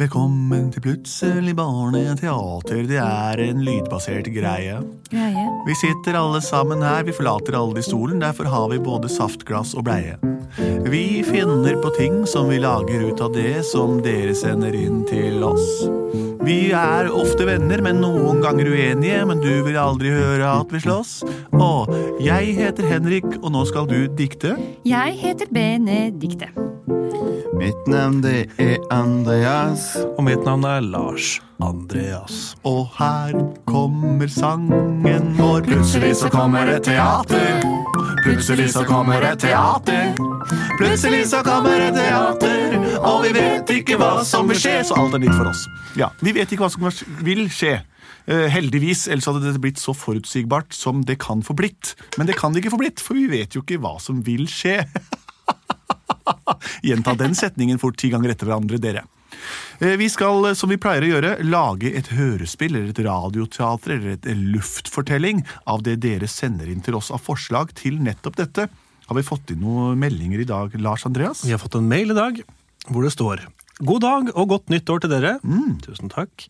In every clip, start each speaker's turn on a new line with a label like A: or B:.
A: Velkommen til Plutselig barneteater. Det er en lydbasert greie.
B: Greie.
A: Vi sitter alle sammen her, vi forlater alle i stolen, derfor har vi både saftglass og bleie. Vi finner på ting som vi lager ut av det som dere sender inn til oss. Vi er ofte venner, men noen ganger uenige, men du vil aldri høre at vi slåss. Og jeg heter Henrik, og nå skal du dikte.
B: Jeg heter Benedikte.
C: Mitt navn det er Andreas.
D: Og mitt navn er Lars Andreas.
A: Og her kommer sangen vår. Plutselig så kommer et teater. Plutselig så kommer et teater. Plutselig så kommer et teater, og vi vet ikke hva som vil skje. Så alt er nytt for oss. Ja, Vi vet ikke hva som vil skje. Eh, heldigvis, ellers hadde dette blitt så forutsigbart som det kan få blitt. Men det kan det ikke få blitt, for vi vet jo ikke hva som vil skje. Gjenta den setningen fort ti ganger etter hverandre, dere. Eh, Vi skal, eh, som vi pleier å gjøre, lage et hørespill eller et radioteater eller et en luftfortelling av det dere sender inn til oss av forslag til nettopp dette. Har vi fått inn noen meldinger i dag, Lars Andreas?
D: Vi har fått en mail i dag hvor det står God dag og godt nytt år til dere. Tusen takk.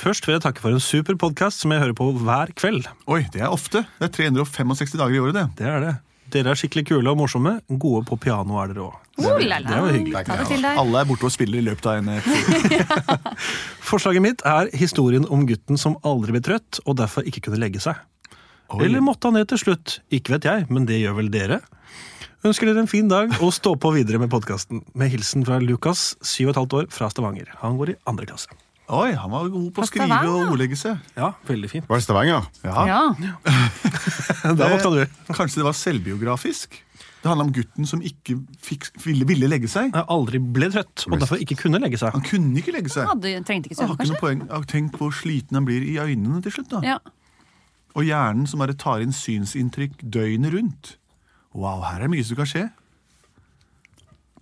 D: Først vil jeg takke for en super podkast som jeg hører på hver kveld.
A: Oi, det er ofte. Det er 365 dager i året, det.
D: Det er det. Dere er skikkelig kule og morsomme. Gode på piano er dere òg.
B: Oh, la, la.
D: Det var hyggelig.
B: Ta det til deg.
A: Alle er borte og spiller i løpet av en eh,
D: Forslaget mitt er historien om gutten som aldri ble trøtt og derfor ikke kunne legge seg.
A: Oi.
D: Eller måtte han ned til slutt? Ikke vet jeg, men det gjør vel dere. Ønsker dere en fin dag og stå på videre med podkasten. Med hilsen fra Lukas, 7,5 år, fra Stavanger. Han går i andre klasse.
A: Oi, han var god på å
B: Fra
A: skrive
B: Stavanger.
A: og ordlegge seg.
D: Ja, veldig fint.
C: Var det Stavanger?
B: Ja.
D: Der våkna du.
A: Kanskje det var selvbiografisk? Det handla om gutten som ikke fikk, ville, ville legge seg.
D: Jeg aldri ble trøtt, og derfor ikke kunne legge seg.
A: Han kunne ikke legge seg.
B: Hadde, trengte ikke
A: Jeg har
B: søvn,
A: ikke noe
B: kanskje?
A: poeng. Jeg har Tenk hvor sliten han blir i øynene til slutt. da.
B: Ja.
A: Og hjernen som bare tar inn synsinntrykk døgnet rundt. Wow, her er mye som kan skje.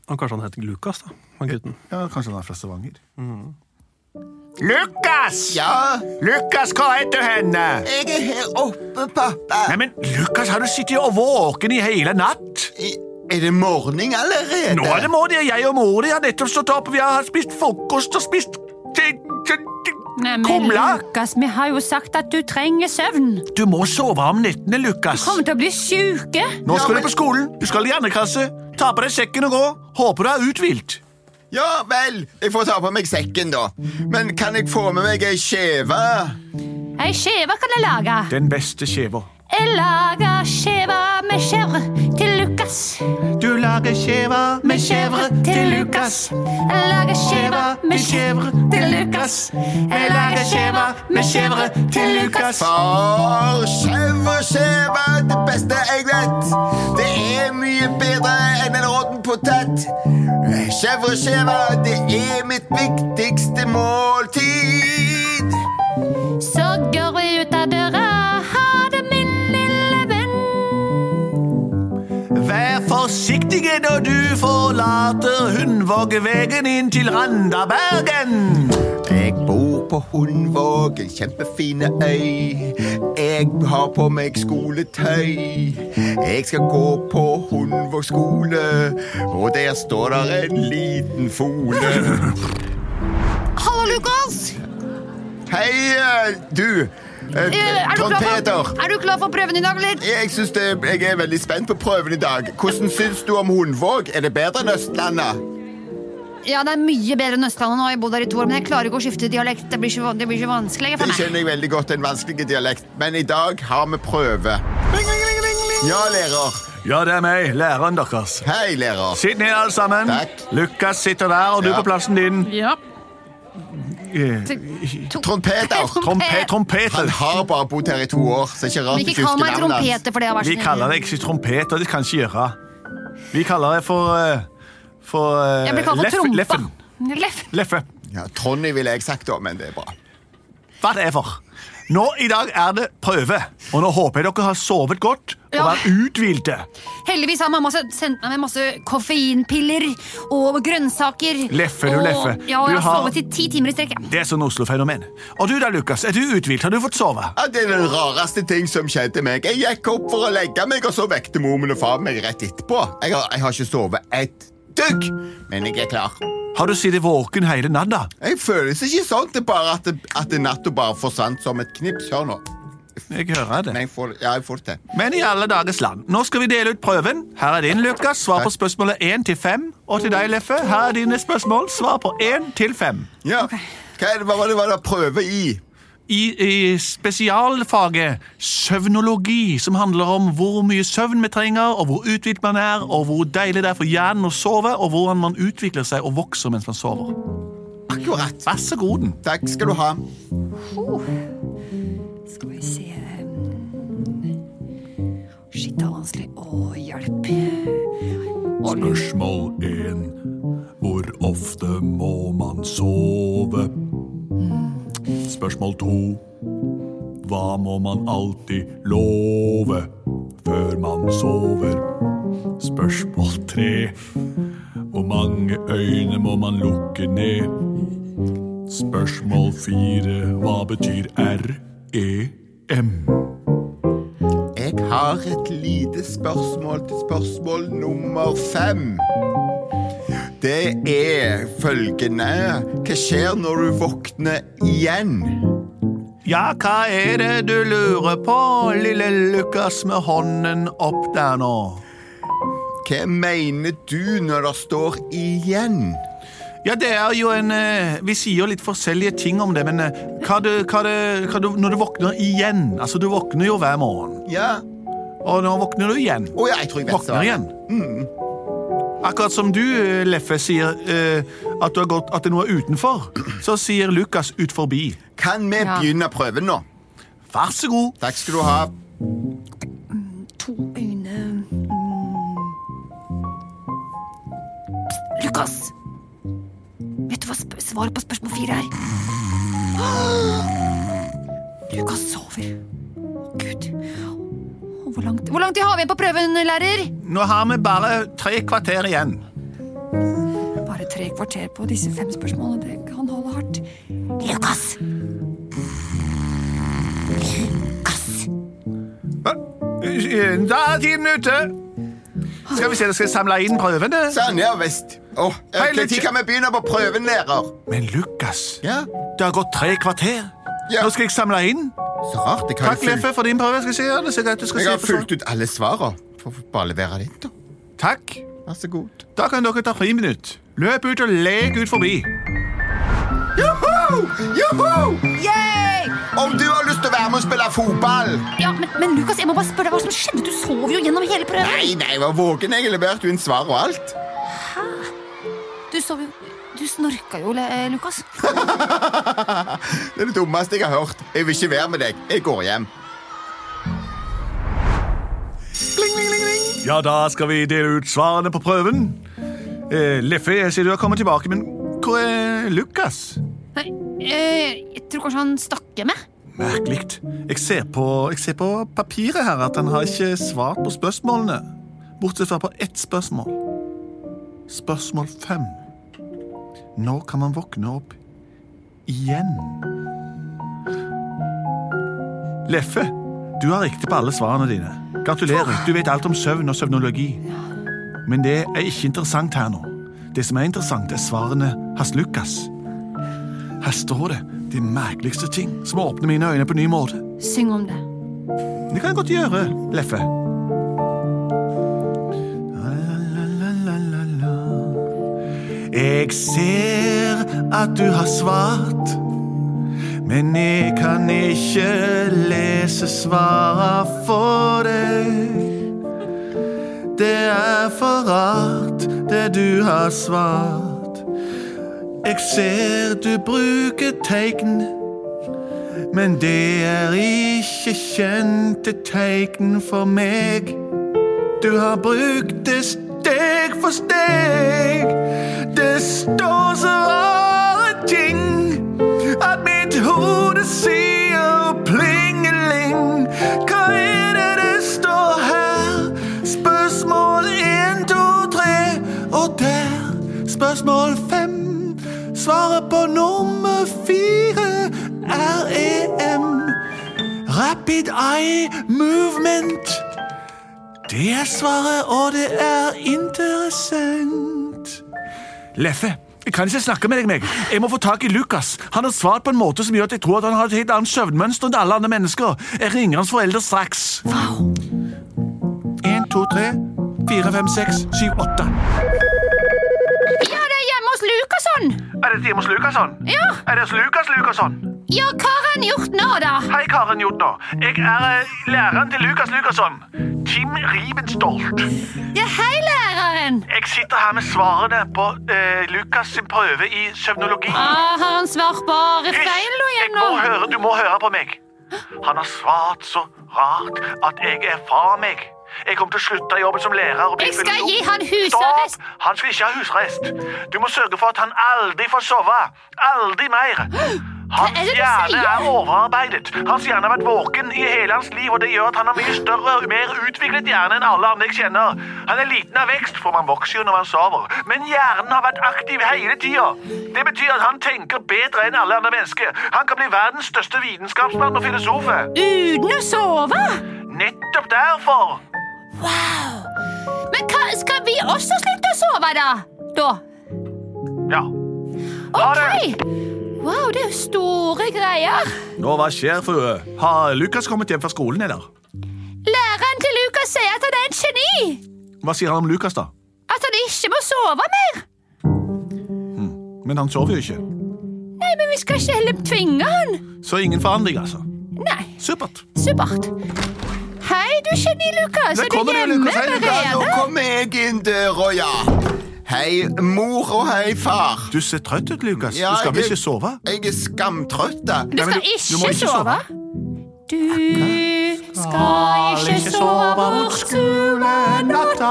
D: Og kanskje han het Lukas, da. Han gutten.
A: Ja, Kanskje han er fra Stavanger.
E: Mhm. Lukas!
C: Ja,
E: Lukas, hva heter du henne?
C: jeg er her oppe, pappa.
E: Neimen, Lukas, har du sittet og våken i hele natt?
C: I- Er det morgen allerede?
E: Nå er det morgen, og jeg og mor de har nettopp stått opp, og vi har spist frokost og spist t- t- t-
B: Nei, men
E: kumle.
B: Lukas, vi har jo sagt at du trenger søvn.
E: Du må sove om nettene, Lukas.
B: Kommer til å bli syke.
E: Nå skal du på skolen, du skal i andre klasse. Ta på deg sekken og gå. Håper du er uthvilt.
C: Ja vel, jeg får ta på meg sekken, da. Men kan jeg få med meg ei skjeve?
B: Ei skjeve kan jeg lage.
E: Den beste skjeva.
B: Jeg lager skjeve med skjevre til Lukas.
A: Du lager skjeva
B: Med skjevre til Lukas. Jeg lager skjeve med skjevre til Lukas. Jeg lager skjeve med skjevre til Lukas.
C: For skjeve og skjeve, det beste jeg vet. Det er mye bedre enn en råtten potet. Skjeve og skjeve, det er mitt viktigste måltid.
B: Så går vi ut av døra. Ha det, min lille venn.
E: Vær forsiktige når du forlater Hundvågvegen inn til Randabergen.
C: Jeg bor på Hundvåg, en kjempefine øy. Jeg har på meg skoletøy. Jeg skal gå på Hundvåg skole, og der står der en liten fole.
B: Hallo, Lukas.
C: Hei, eh, du. eh,
B: Eh, Er du,
C: Trond
B: klar
C: Peder.
B: for, er du klar for prøven i dag, eller?
C: Jeg, synes det, jeg er veldig spent på prøven i dag. Hvordan syns du om Hundvåg? Er det bedre enn Østlandet?
B: Ja, det er mye bedre enn Østlandet nå. Jeg har bodd der i to år, men jeg klarer ikke å skifte dialekt. Det blir så, det blir så vanskelig
C: Det
B: for meg.
C: kjenner jeg veldig godt, en vanskelig dialekt. Men i dag har vi prøve. Ja, lærer.
E: Ja, det er meg, læreren deres.
C: Hei, lærer.
E: Sitt ned, alle sammen.
C: Takk.
E: Lukas sitter der, og du
C: Ja.
E: på plassen din.
B: Ja.
C: Trond Peder.
E: Trompe
C: Han
E: trompeter.
C: har bare bodd her i to år, så ikke rart
B: Men
C: du
B: ikke
C: ikke
B: kall
C: husker
B: meg
C: navnet hans.
B: trompeter, for det har vært sånn-
E: Vi kaller det ikke trompeter, det kan ikke gjøre. Vi kaller det for eh, For eh,
B: Jeg blir kalt for
E: leff-
B: trompa.
E: leffen.
B: Leffen.
E: Leffe.
C: Ja, Tronny ville jeg sagt da, men det er bra.
E: Whatever. Nå i dag er det prøve, og nå håper jeg dere har sovet godt og
B: Ja.
E: er uthvilte.
B: Heldigvis har mamma sendt sendt meg med masse koffeinpiller og grønnsaker.
E: Leffe, du
B: og,
E: leffe.
B: Ja, og
E: Du
B: jeg har
E: har-
B: sovet i ti timer i strekk. ja.
E: Det er sånn Oslo-fenomen. Og du da, Lukas, er du uthvilt? Har du fått sove?
C: Ja, det er den rareste ting som skjedde meg. Jeg gikk opp for å legge meg, og så vekte mormen og far meg rett etterpå. Jeg har, jeg har ikke sovet ett døgg, men jeg er klar.
A: Har du sittet våken hele natta?
C: Jeg føles ikke sånn, det er bare at, det- at det natta bare forsvant som et knips. Hør nå.
A: Jeg hører det.
C: Men jeg får, ja, jeg får det til.
A: Men i alle dagers land. Nå skal vi dele ut prøven. Her er din, Lukas. Svar på
C: Takk.
A: spørsmålet 1 til 5. Og til deg, Leffe, her er dine spørsmål. Svar på 1 til 5.
C: Ja. Hva, er det, hva var det var det prøve i?
A: I, I spesialfaget søvnologi, som handler om hvor mye søvn vi trenger, og hvor uthvilt man er, og hvor deilig det er for hjernen å sove, og hvordan man utvikler seg og vokser mens man sover.
C: Akkurat.
A: Vær så god.
C: Takk skal du ha.
B: Oh. Skal vi se Shit, det er vanskelig. Å, hjelp.
F: Spørsmål 1. Hvor ofte må man sove? Spørsmål 2. Hva må man alltid love før man sover? Spørsmål 3. Hvor mange øyne må man lukke ned? Spørsmål 4. Hva betyr E REM?
C: Jeg har et lite spørsmål til spørsmål nummer fem. Det er følgende Hva skjer når du våkner igjen?
A: Ja, hva er det du lurer på, lille Lukas med hånden opp der nå?
C: Hva mener du når det står 'igjen'?
A: Ja, det er jo en eh, Vi sier jo litt forskjellige ting om det, men eh, hva du, hva du, hva du, når du våkner igjen Altså, du våkner jo hver morgen,
C: Ja.
A: og nå våkner du igjen.
C: Å ja, jeg tror jeg Mm. vet
A: Våkner igjen. Akkurat som du, eh, Leffe, sier eh, at, du har gått, at det er noe utenfor, så sier Lukas ut forbi.
C: Kan vi
B: Ja.
C: begynne prøven nå?
A: Vær så god.
C: Takk skal du ha.
B: To øyne mm. Lukas! Vet du hva sp svaret på spørsmål fire er? Lukas sover. Å, Gud. Å, Hvor lang, hvor lang tid har vi igjen på prøven, lærer?
A: Nå har vi bare tre kvarter igjen.
B: Bare tre kvarter på disse fem spørsmålene. Det kan holde hardt. Lukas!
A: Da er tiden ute. Skal vi se, da skal jeg samle inn prøvene.
C: Sånn, ja visst. Åh, eh,
A: Hei,
C: Hva
A: Lukas.
C: tid kan vi begynne på prøven, lærer?
A: Men Lukas,
C: Ja,
A: det har gått tre kvarter.
C: Ja.
A: Nå skal jeg samle inn.
C: Så rart. Jeg har,
A: Takk,
C: jo fulgt,
A: Leffe, for din prøve. Skal jeg se, ja, det ser greit ut. Skal
C: jeg har
A: se på sånn. svar.
C: fulgt ut alle svarene. Får bare levere det inn, da.
A: Takk.
C: Vær så god.
A: Da kan dere ta friminutt. Løp ut og lek ut forbi.
C: Joho! Joho! Om du har lyst til å være med og spille fotball
B: Ja, men, men Lukas, jeg må bare spørre deg hva som skjedde. Du sov jo gjennom hele prøven.
C: Nei, nei, jeg var våken. Jeg leverte jo inn svar og alt.
B: Du sov jo Du snorka jo, Le- eh, Lukas.
C: Det er det dummeste jeg har hørt. Jeg vil ikke være med deg. Jeg går hjem.
A: Ja, da skal vi dele ut svarene på prøven. Eh, Leffe, jeg sier du har kommet tilbake, men hvor er Lukas?
B: Nei, eh, jeg tror kanskje han stakk med.
A: Merkelig. Jeg ser på, jeg ser på papiret her at han har ikke svart på spørsmålene. Bortsett fra på ett spørsmål. Spørsmål fem. Når kan man våkne opp igjen? Leffe, du har riktig på alle svarene dine. Gratulerer. Du vet alt om søvn og søvnologi. Men det er ikke interessant her nå. Det som er interessant, er svarene hans Lukas. Her står det de merkeligste ting som åpner mine øyne på ny måte.
B: Syng om det.
A: Det kan jeg godt gjøre, Leffe. Jeg ser at du har svart, men jeg kan ikke lese svaret for deg. Det er for rart, det du har svart. Jeg ser du bruker tegn. Men det er ikke kjente tegn for meg. Du har brukt det steg for steg. Det står så rare ting at mitt hode sier plingeling. Hva er det det står her? Spørsmål én, to, tre, og der. Spørsmål fem. Svaret på nummer fire er EM. Rapid eye movement. Det er svaret, og det er interessant. Leffe, jeg kan ikke snakke med deg, meg. Jeg må få tak i Lukas. Han har svart på en måte som gjør at jeg tror at han har et helt annet søvnmønster enn alle andre mennesker. Jeg ringer hans foreldre straks.
B: Wow.
A: 1, 2, 3, 4, 5, 6, 7, 8.
B: Ja, det er hjemme hos Lukasson.
A: Er det Timos Lukasson?
B: Ja.
A: Er det Lukas Lukasson?
B: ja, hva har han gjort nå, da?
A: Hei, Karen Jodna. Jeg er eh, læreren til Lukas Lukasson. Tim Rivenstolt.
B: Ja, hei, læreren.
A: Jeg sitter her med svarene på eh, Lukas sin prøve i søvnologi.
B: Ah, har han svart bare feil nå
A: Jeg
B: igjen
A: må
B: nå?
A: høre, du må høre på meg. Han har svart så rart at jeg er fra meg. Jeg kommer til å slutte i jobben som lærer. Og bli
B: Jeg skal
A: filosof.
B: gi han husarrest.
A: Stopp! Han skal ikke ha husarrest. Du må sørge for at han aldri får sove. Aldri mer.
B: Hva er
A: Hans
B: det du
A: hjerne
B: sier?
A: er overarbeidet. Hans hjerne har vært våken i hele hans liv, og det gjør at han har mye større og mer utviklet hjerne enn alle andre jeg kjenner. Han er liten av vekst, for man vokser jo når man sover. Men hjernen har vært aktiv hele tida. Det betyr at han tenker bedre enn alle andre mennesker. Han kan bli verdens største vitenskapsmann og filosof.
B: Uten å sove?
A: Nettopp derfor.
B: Men hva, skal vi også slutte å sove, da? Da?
A: Ja. Ha det.
B: OK. Wow, det er jo store greier.
A: Og hva skjer, frue? Har Lukas kommet hjem fra skolen, eller?
B: Læreren til Lukas sier at han er et geni.
A: Hva sier han om Lukas, da?
B: At han ikke må sove mer.
A: Men han sover jo ikke.
B: Nei, men vi skal ikke heller tvinge han.
A: Så ingen forandring, altså.
B: Nei.
A: Supert.
B: Supert. Hei, du geni, Lukas. Er du
A: kommer du,
B: hjemme
A: Lukas. Hei, Lukas.
C: Ja, nå
B: allerede?
C: kommer jeg inn døra, ja. Hei, mor og hei, far.
A: Du ser trøtt ut, Lukas.
C: Ja,
A: du skal vel
C: jeg-
A: ikke sove?
C: Jeg er skamtrøtt. da.
B: Du
A: men
B: skal
A: du- du må
B: ikke
A: ikke
B: sove.
A: sove.
B: Du skal ikke sove bort skolenatta.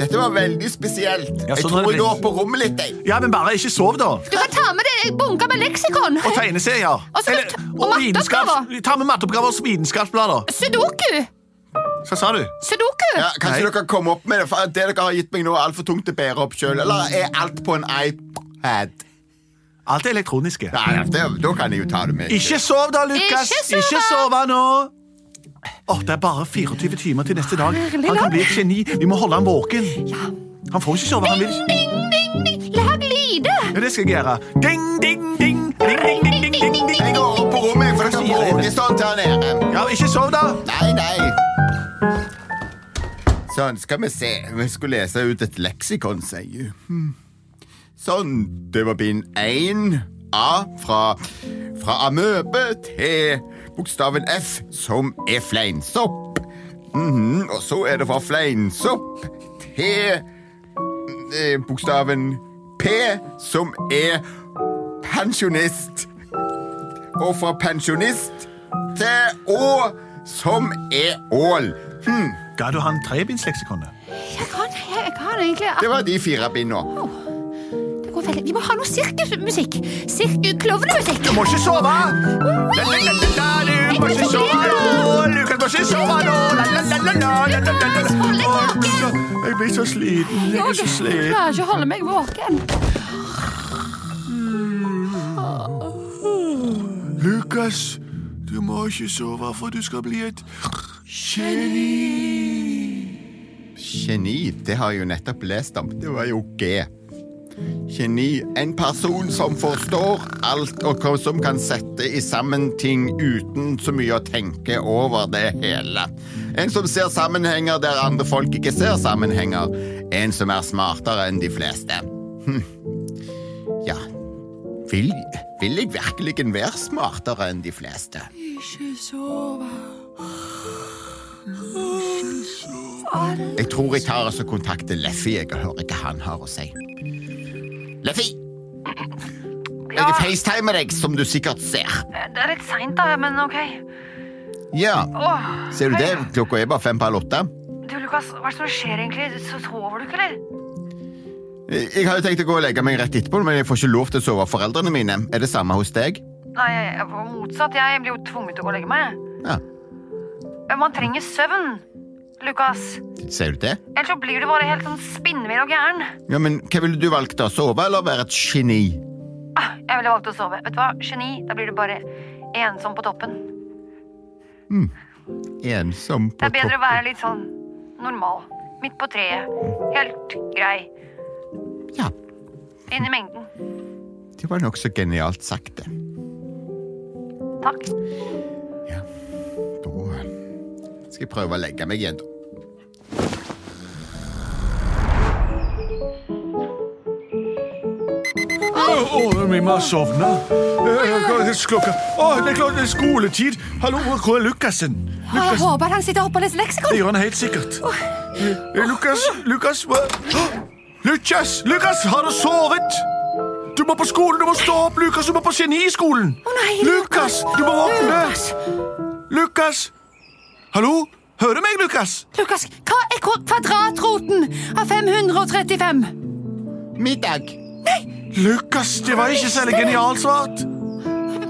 C: Dette var veldig spesielt.
A: Ja,
C: Jeg
A: sånn
C: tror
A: har det
C: jeg går
A: blitt.
C: på rommet litt. jeg.
A: Ja, men bare ikke sov, da.
B: Du kan ta med deg bunker med leksikon.
A: Og tegneserier.
B: Og så-
A: Eller-
B: og matteoppgaver.
A: vitenskaps- Ta med matteoppgaver og vitenskapsblader.
B: Sudoku.
A: Hva sa du?
B: Sudoku.
C: Ja, kanskje
A: Nei.
C: dere kommer opp med det, for det dere har gitt meg nå, er altfor tungt å bære opp sjøl. Eller er alt på en iPad?
A: Alt er elektroniske.
C: Nei, det, da kan jeg jo ta det med.
A: Ikke sov, da, Lukas.
B: Ikke sove.
A: Ikke sove nå. Åh, Det er bare 24 timer til neste dag.
B: Herlig
A: Han
B: dag.
A: kan bli et geni. Vi må holde ham våken. Han får ikke sove. han vil ikke.
B: Ding, ding, ding. Lag lyder.
A: Ja, det skal jeg gjøre. Ding, ding, ding. Ding, ding, ding, ding, ding, ding,
C: Jeg
A: ding.
C: går opp på rommet, for dere
A: Sier jeg
C: våger
A: det.
C: sånn til han nede.
A: Ja, ikke sov, da.
C: Nei, nei. Sånn, skal vi se. Vi skulle lese ut et leksikon, sier jeg. Hmm. Sånn, det var bind 1 A fra, fra amøbe til bokstaven F, som er fleinsopp. Mhm, Og så er det fra fleinsopp til eh, bokstaven P, som er pensjonist. Og fra pensjonist til Å, som er ål.
A: Ga du han trebindsleksikonet?
B: Jeg kan, jeg kan egentlig Ah,
C: Det var de fire bindene.
B: det går veldig. Vi må ha noe sirkusmusikk. Sirkus, klovnemusikk.
A: Du må ikke sove! La-la-la-la-la, Du må ikke sove nå! Lukas må ikke sove nå! La-la-la-la-la-la-la-la.
B: Hold deg
A: Åh,
B: våken.
A: så- Jeg blir så sliten. Jeg er så
B: Jeg
A: sliten.
B: klarer ikke å holde meg våken.
A: Lukas, du må ikke sove, for du skal bli et geni.
C: Geni, det har jeg jo nettopp lest om. Det var jo G. Geni. En person som forstår alt, og hva- som kan sette i sammen ting uten så mye å tenke over det hele. En som ser sammenhenger der andre folk ikke ser sammenhenger. En som er smartere enn de fleste. Hm. Ja. Vil, vil jeg virkelig være smartere enn de fleste? Jeg tror jeg tar og så kontakter Leffy jeg, og hører hva han har å si. Leffy! Jeg facetimer deg, som du sikkert ser.
G: Det er litt seint, da, men OK.
C: Ja,
G: Åh,
C: ser du
G: hei.
C: det? Klokka er bare fem på halv åtte.
G: Du, Lukas, hva er det som skjer egentlig? Så sover du ikke, eller?
C: Jeg jeg har jo tenkt å gå og legge meg rett etterpå, men jeg får ikke lov til å sove av foreldrene mine. Er det samme hos deg?
G: Nei, jeg- jeg- motsatt. Jeg blir jo tvunget til å gå og legge meg.
C: Ja,
G: Men Man trenger søvn, Lukas.
C: ser du det?
G: Ellers så blir du bare helt sånn spinnvill og gæren.
C: Ja, men hva ville du valgt da? Sove eller være et geni?
G: Ah, Jeg ville valgt å sove. Vet du hva, geni, da blir du bare ensom på toppen.
C: Ensom
G: Det
C: på
G: er bedre å
C: toppen.
G: være litt sånn normal. Midt på treet. Helt grei.
C: Ja,
G: Inn i mengden.
C: det var nokså genialt sagt, det.
G: Takk.
C: Ja. Da skal jeg prøve å legge meg igjen, da.
A: Å, vi må ha sovna. Klokka Å, det er klart det er skoletid. Hallo, hvor er Lukassen?
B: Ah, Jeg
A: Lukas,
B: håper at han sitter oppe og leser leksikon.
A: det gjør han helt sikkert. Eh, Lukas, Lukas hva? Hå! Lukas, Lukas, har du sovet? Du må på skolen, du må stå opp, Lukas. Du må på geniskolen.
B: Å nei,
A: Lukas, du må våkne.
B: Lukas,
A: Lukas! Hallo? Hører du meg, Lukas?
B: Lukas, hva er kvadratroten av 535?
C: Middag.
A: Lukas, det var ikke særlig genialt svart.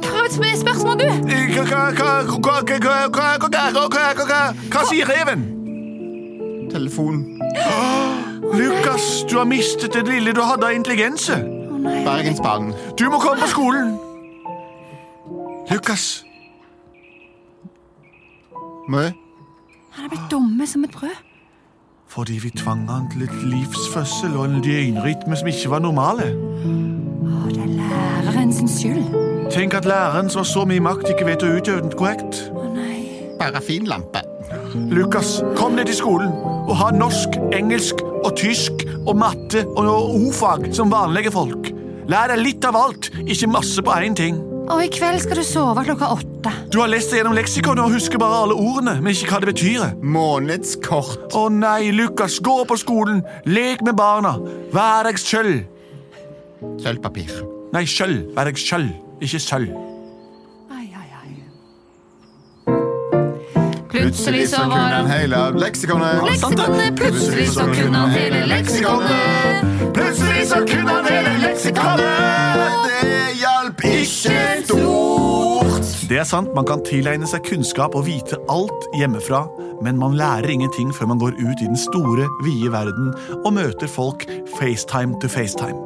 B: Prøv et sp- spørsmål, du.
A: Eh, hva- hva- hva- hva- hva- hva- hva- hva- hva- hva- hva- Hva sier reven?
C: Telefon.
A: Lukas, du har mistet det lille du hadde av intelligense.
C: Bergensbanen.
A: Du må komme på skolen. Lukas,
C: Mø.
B: Han er blitt dumme som et brød.
A: fordi vi tvang han til et livsfødsel og en døgnrytme som ikke var normale.
B: Å, det er læreren sin skyld.
A: Tenk at læreren som har så mye makt, ikke vet å utøve den korrekt.
B: Å nei.
C: Parafinlampe.
A: Lukas, kom ned til skolen og ha norsk, engelsk og tysk og matte og ordfag som vanlige folk. Lær deg litt av alt, ikke masse på én ting.
B: Og i kveld skal du sove klokka åtte.
A: Du har lest deg gjennom leksikonet og husker bare alle ordene, men ikke hva det betyr.
C: Månedskort.
A: Å nei, Lukas, gå på skolen, lek med barna. Vær deg sjøl.
C: Sølvpapir.
A: Nei, sjøl. Vær deg sjøl, ikke sølv.
B: Ai, ai, ai.
C: Plutselig så kunne han hele leksikonet.
B: Leksikonet, plutselig så kunne han hele leksikonet.
C: Plutselig så kunne han hele leksikonet. Det hjalp ikke stort.
A: Det er sant, man kan tilegne seg kunnskap og vite alt hjemmefra, men man lærer ingenting før man går ut i den store, vide verden og møter folk FaceTime to FaceTime.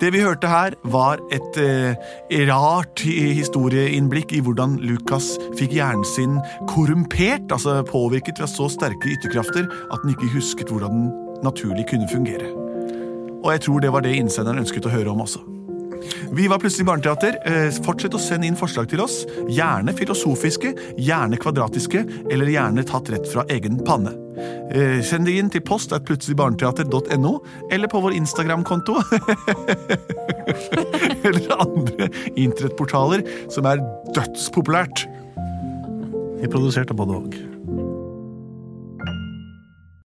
A: Det vi hørte her, var et eh, rart hi- historieinnblikk i hvordan Lukas fikk hjernen sin korrumpert, altså påvirket ved så sterke ytterkrafter at den ikke husket hvordan den naturlig kunne fungere. Og jeg tror det var det innsenderen ønsket å høre om også. Vi var plutselig barneteater. Eh, Fortsett å sende inn forslag til oss. Gjerne filosofiske, gjerne kvadratiske, eller gjerne tatt rett fra egen panne. Eh, Send det inn til post at plutseligbarneteater.no, eller på vår Instagram-konto. eller andre internettportaler som er dødspopulært.
D: Vi produserte både og.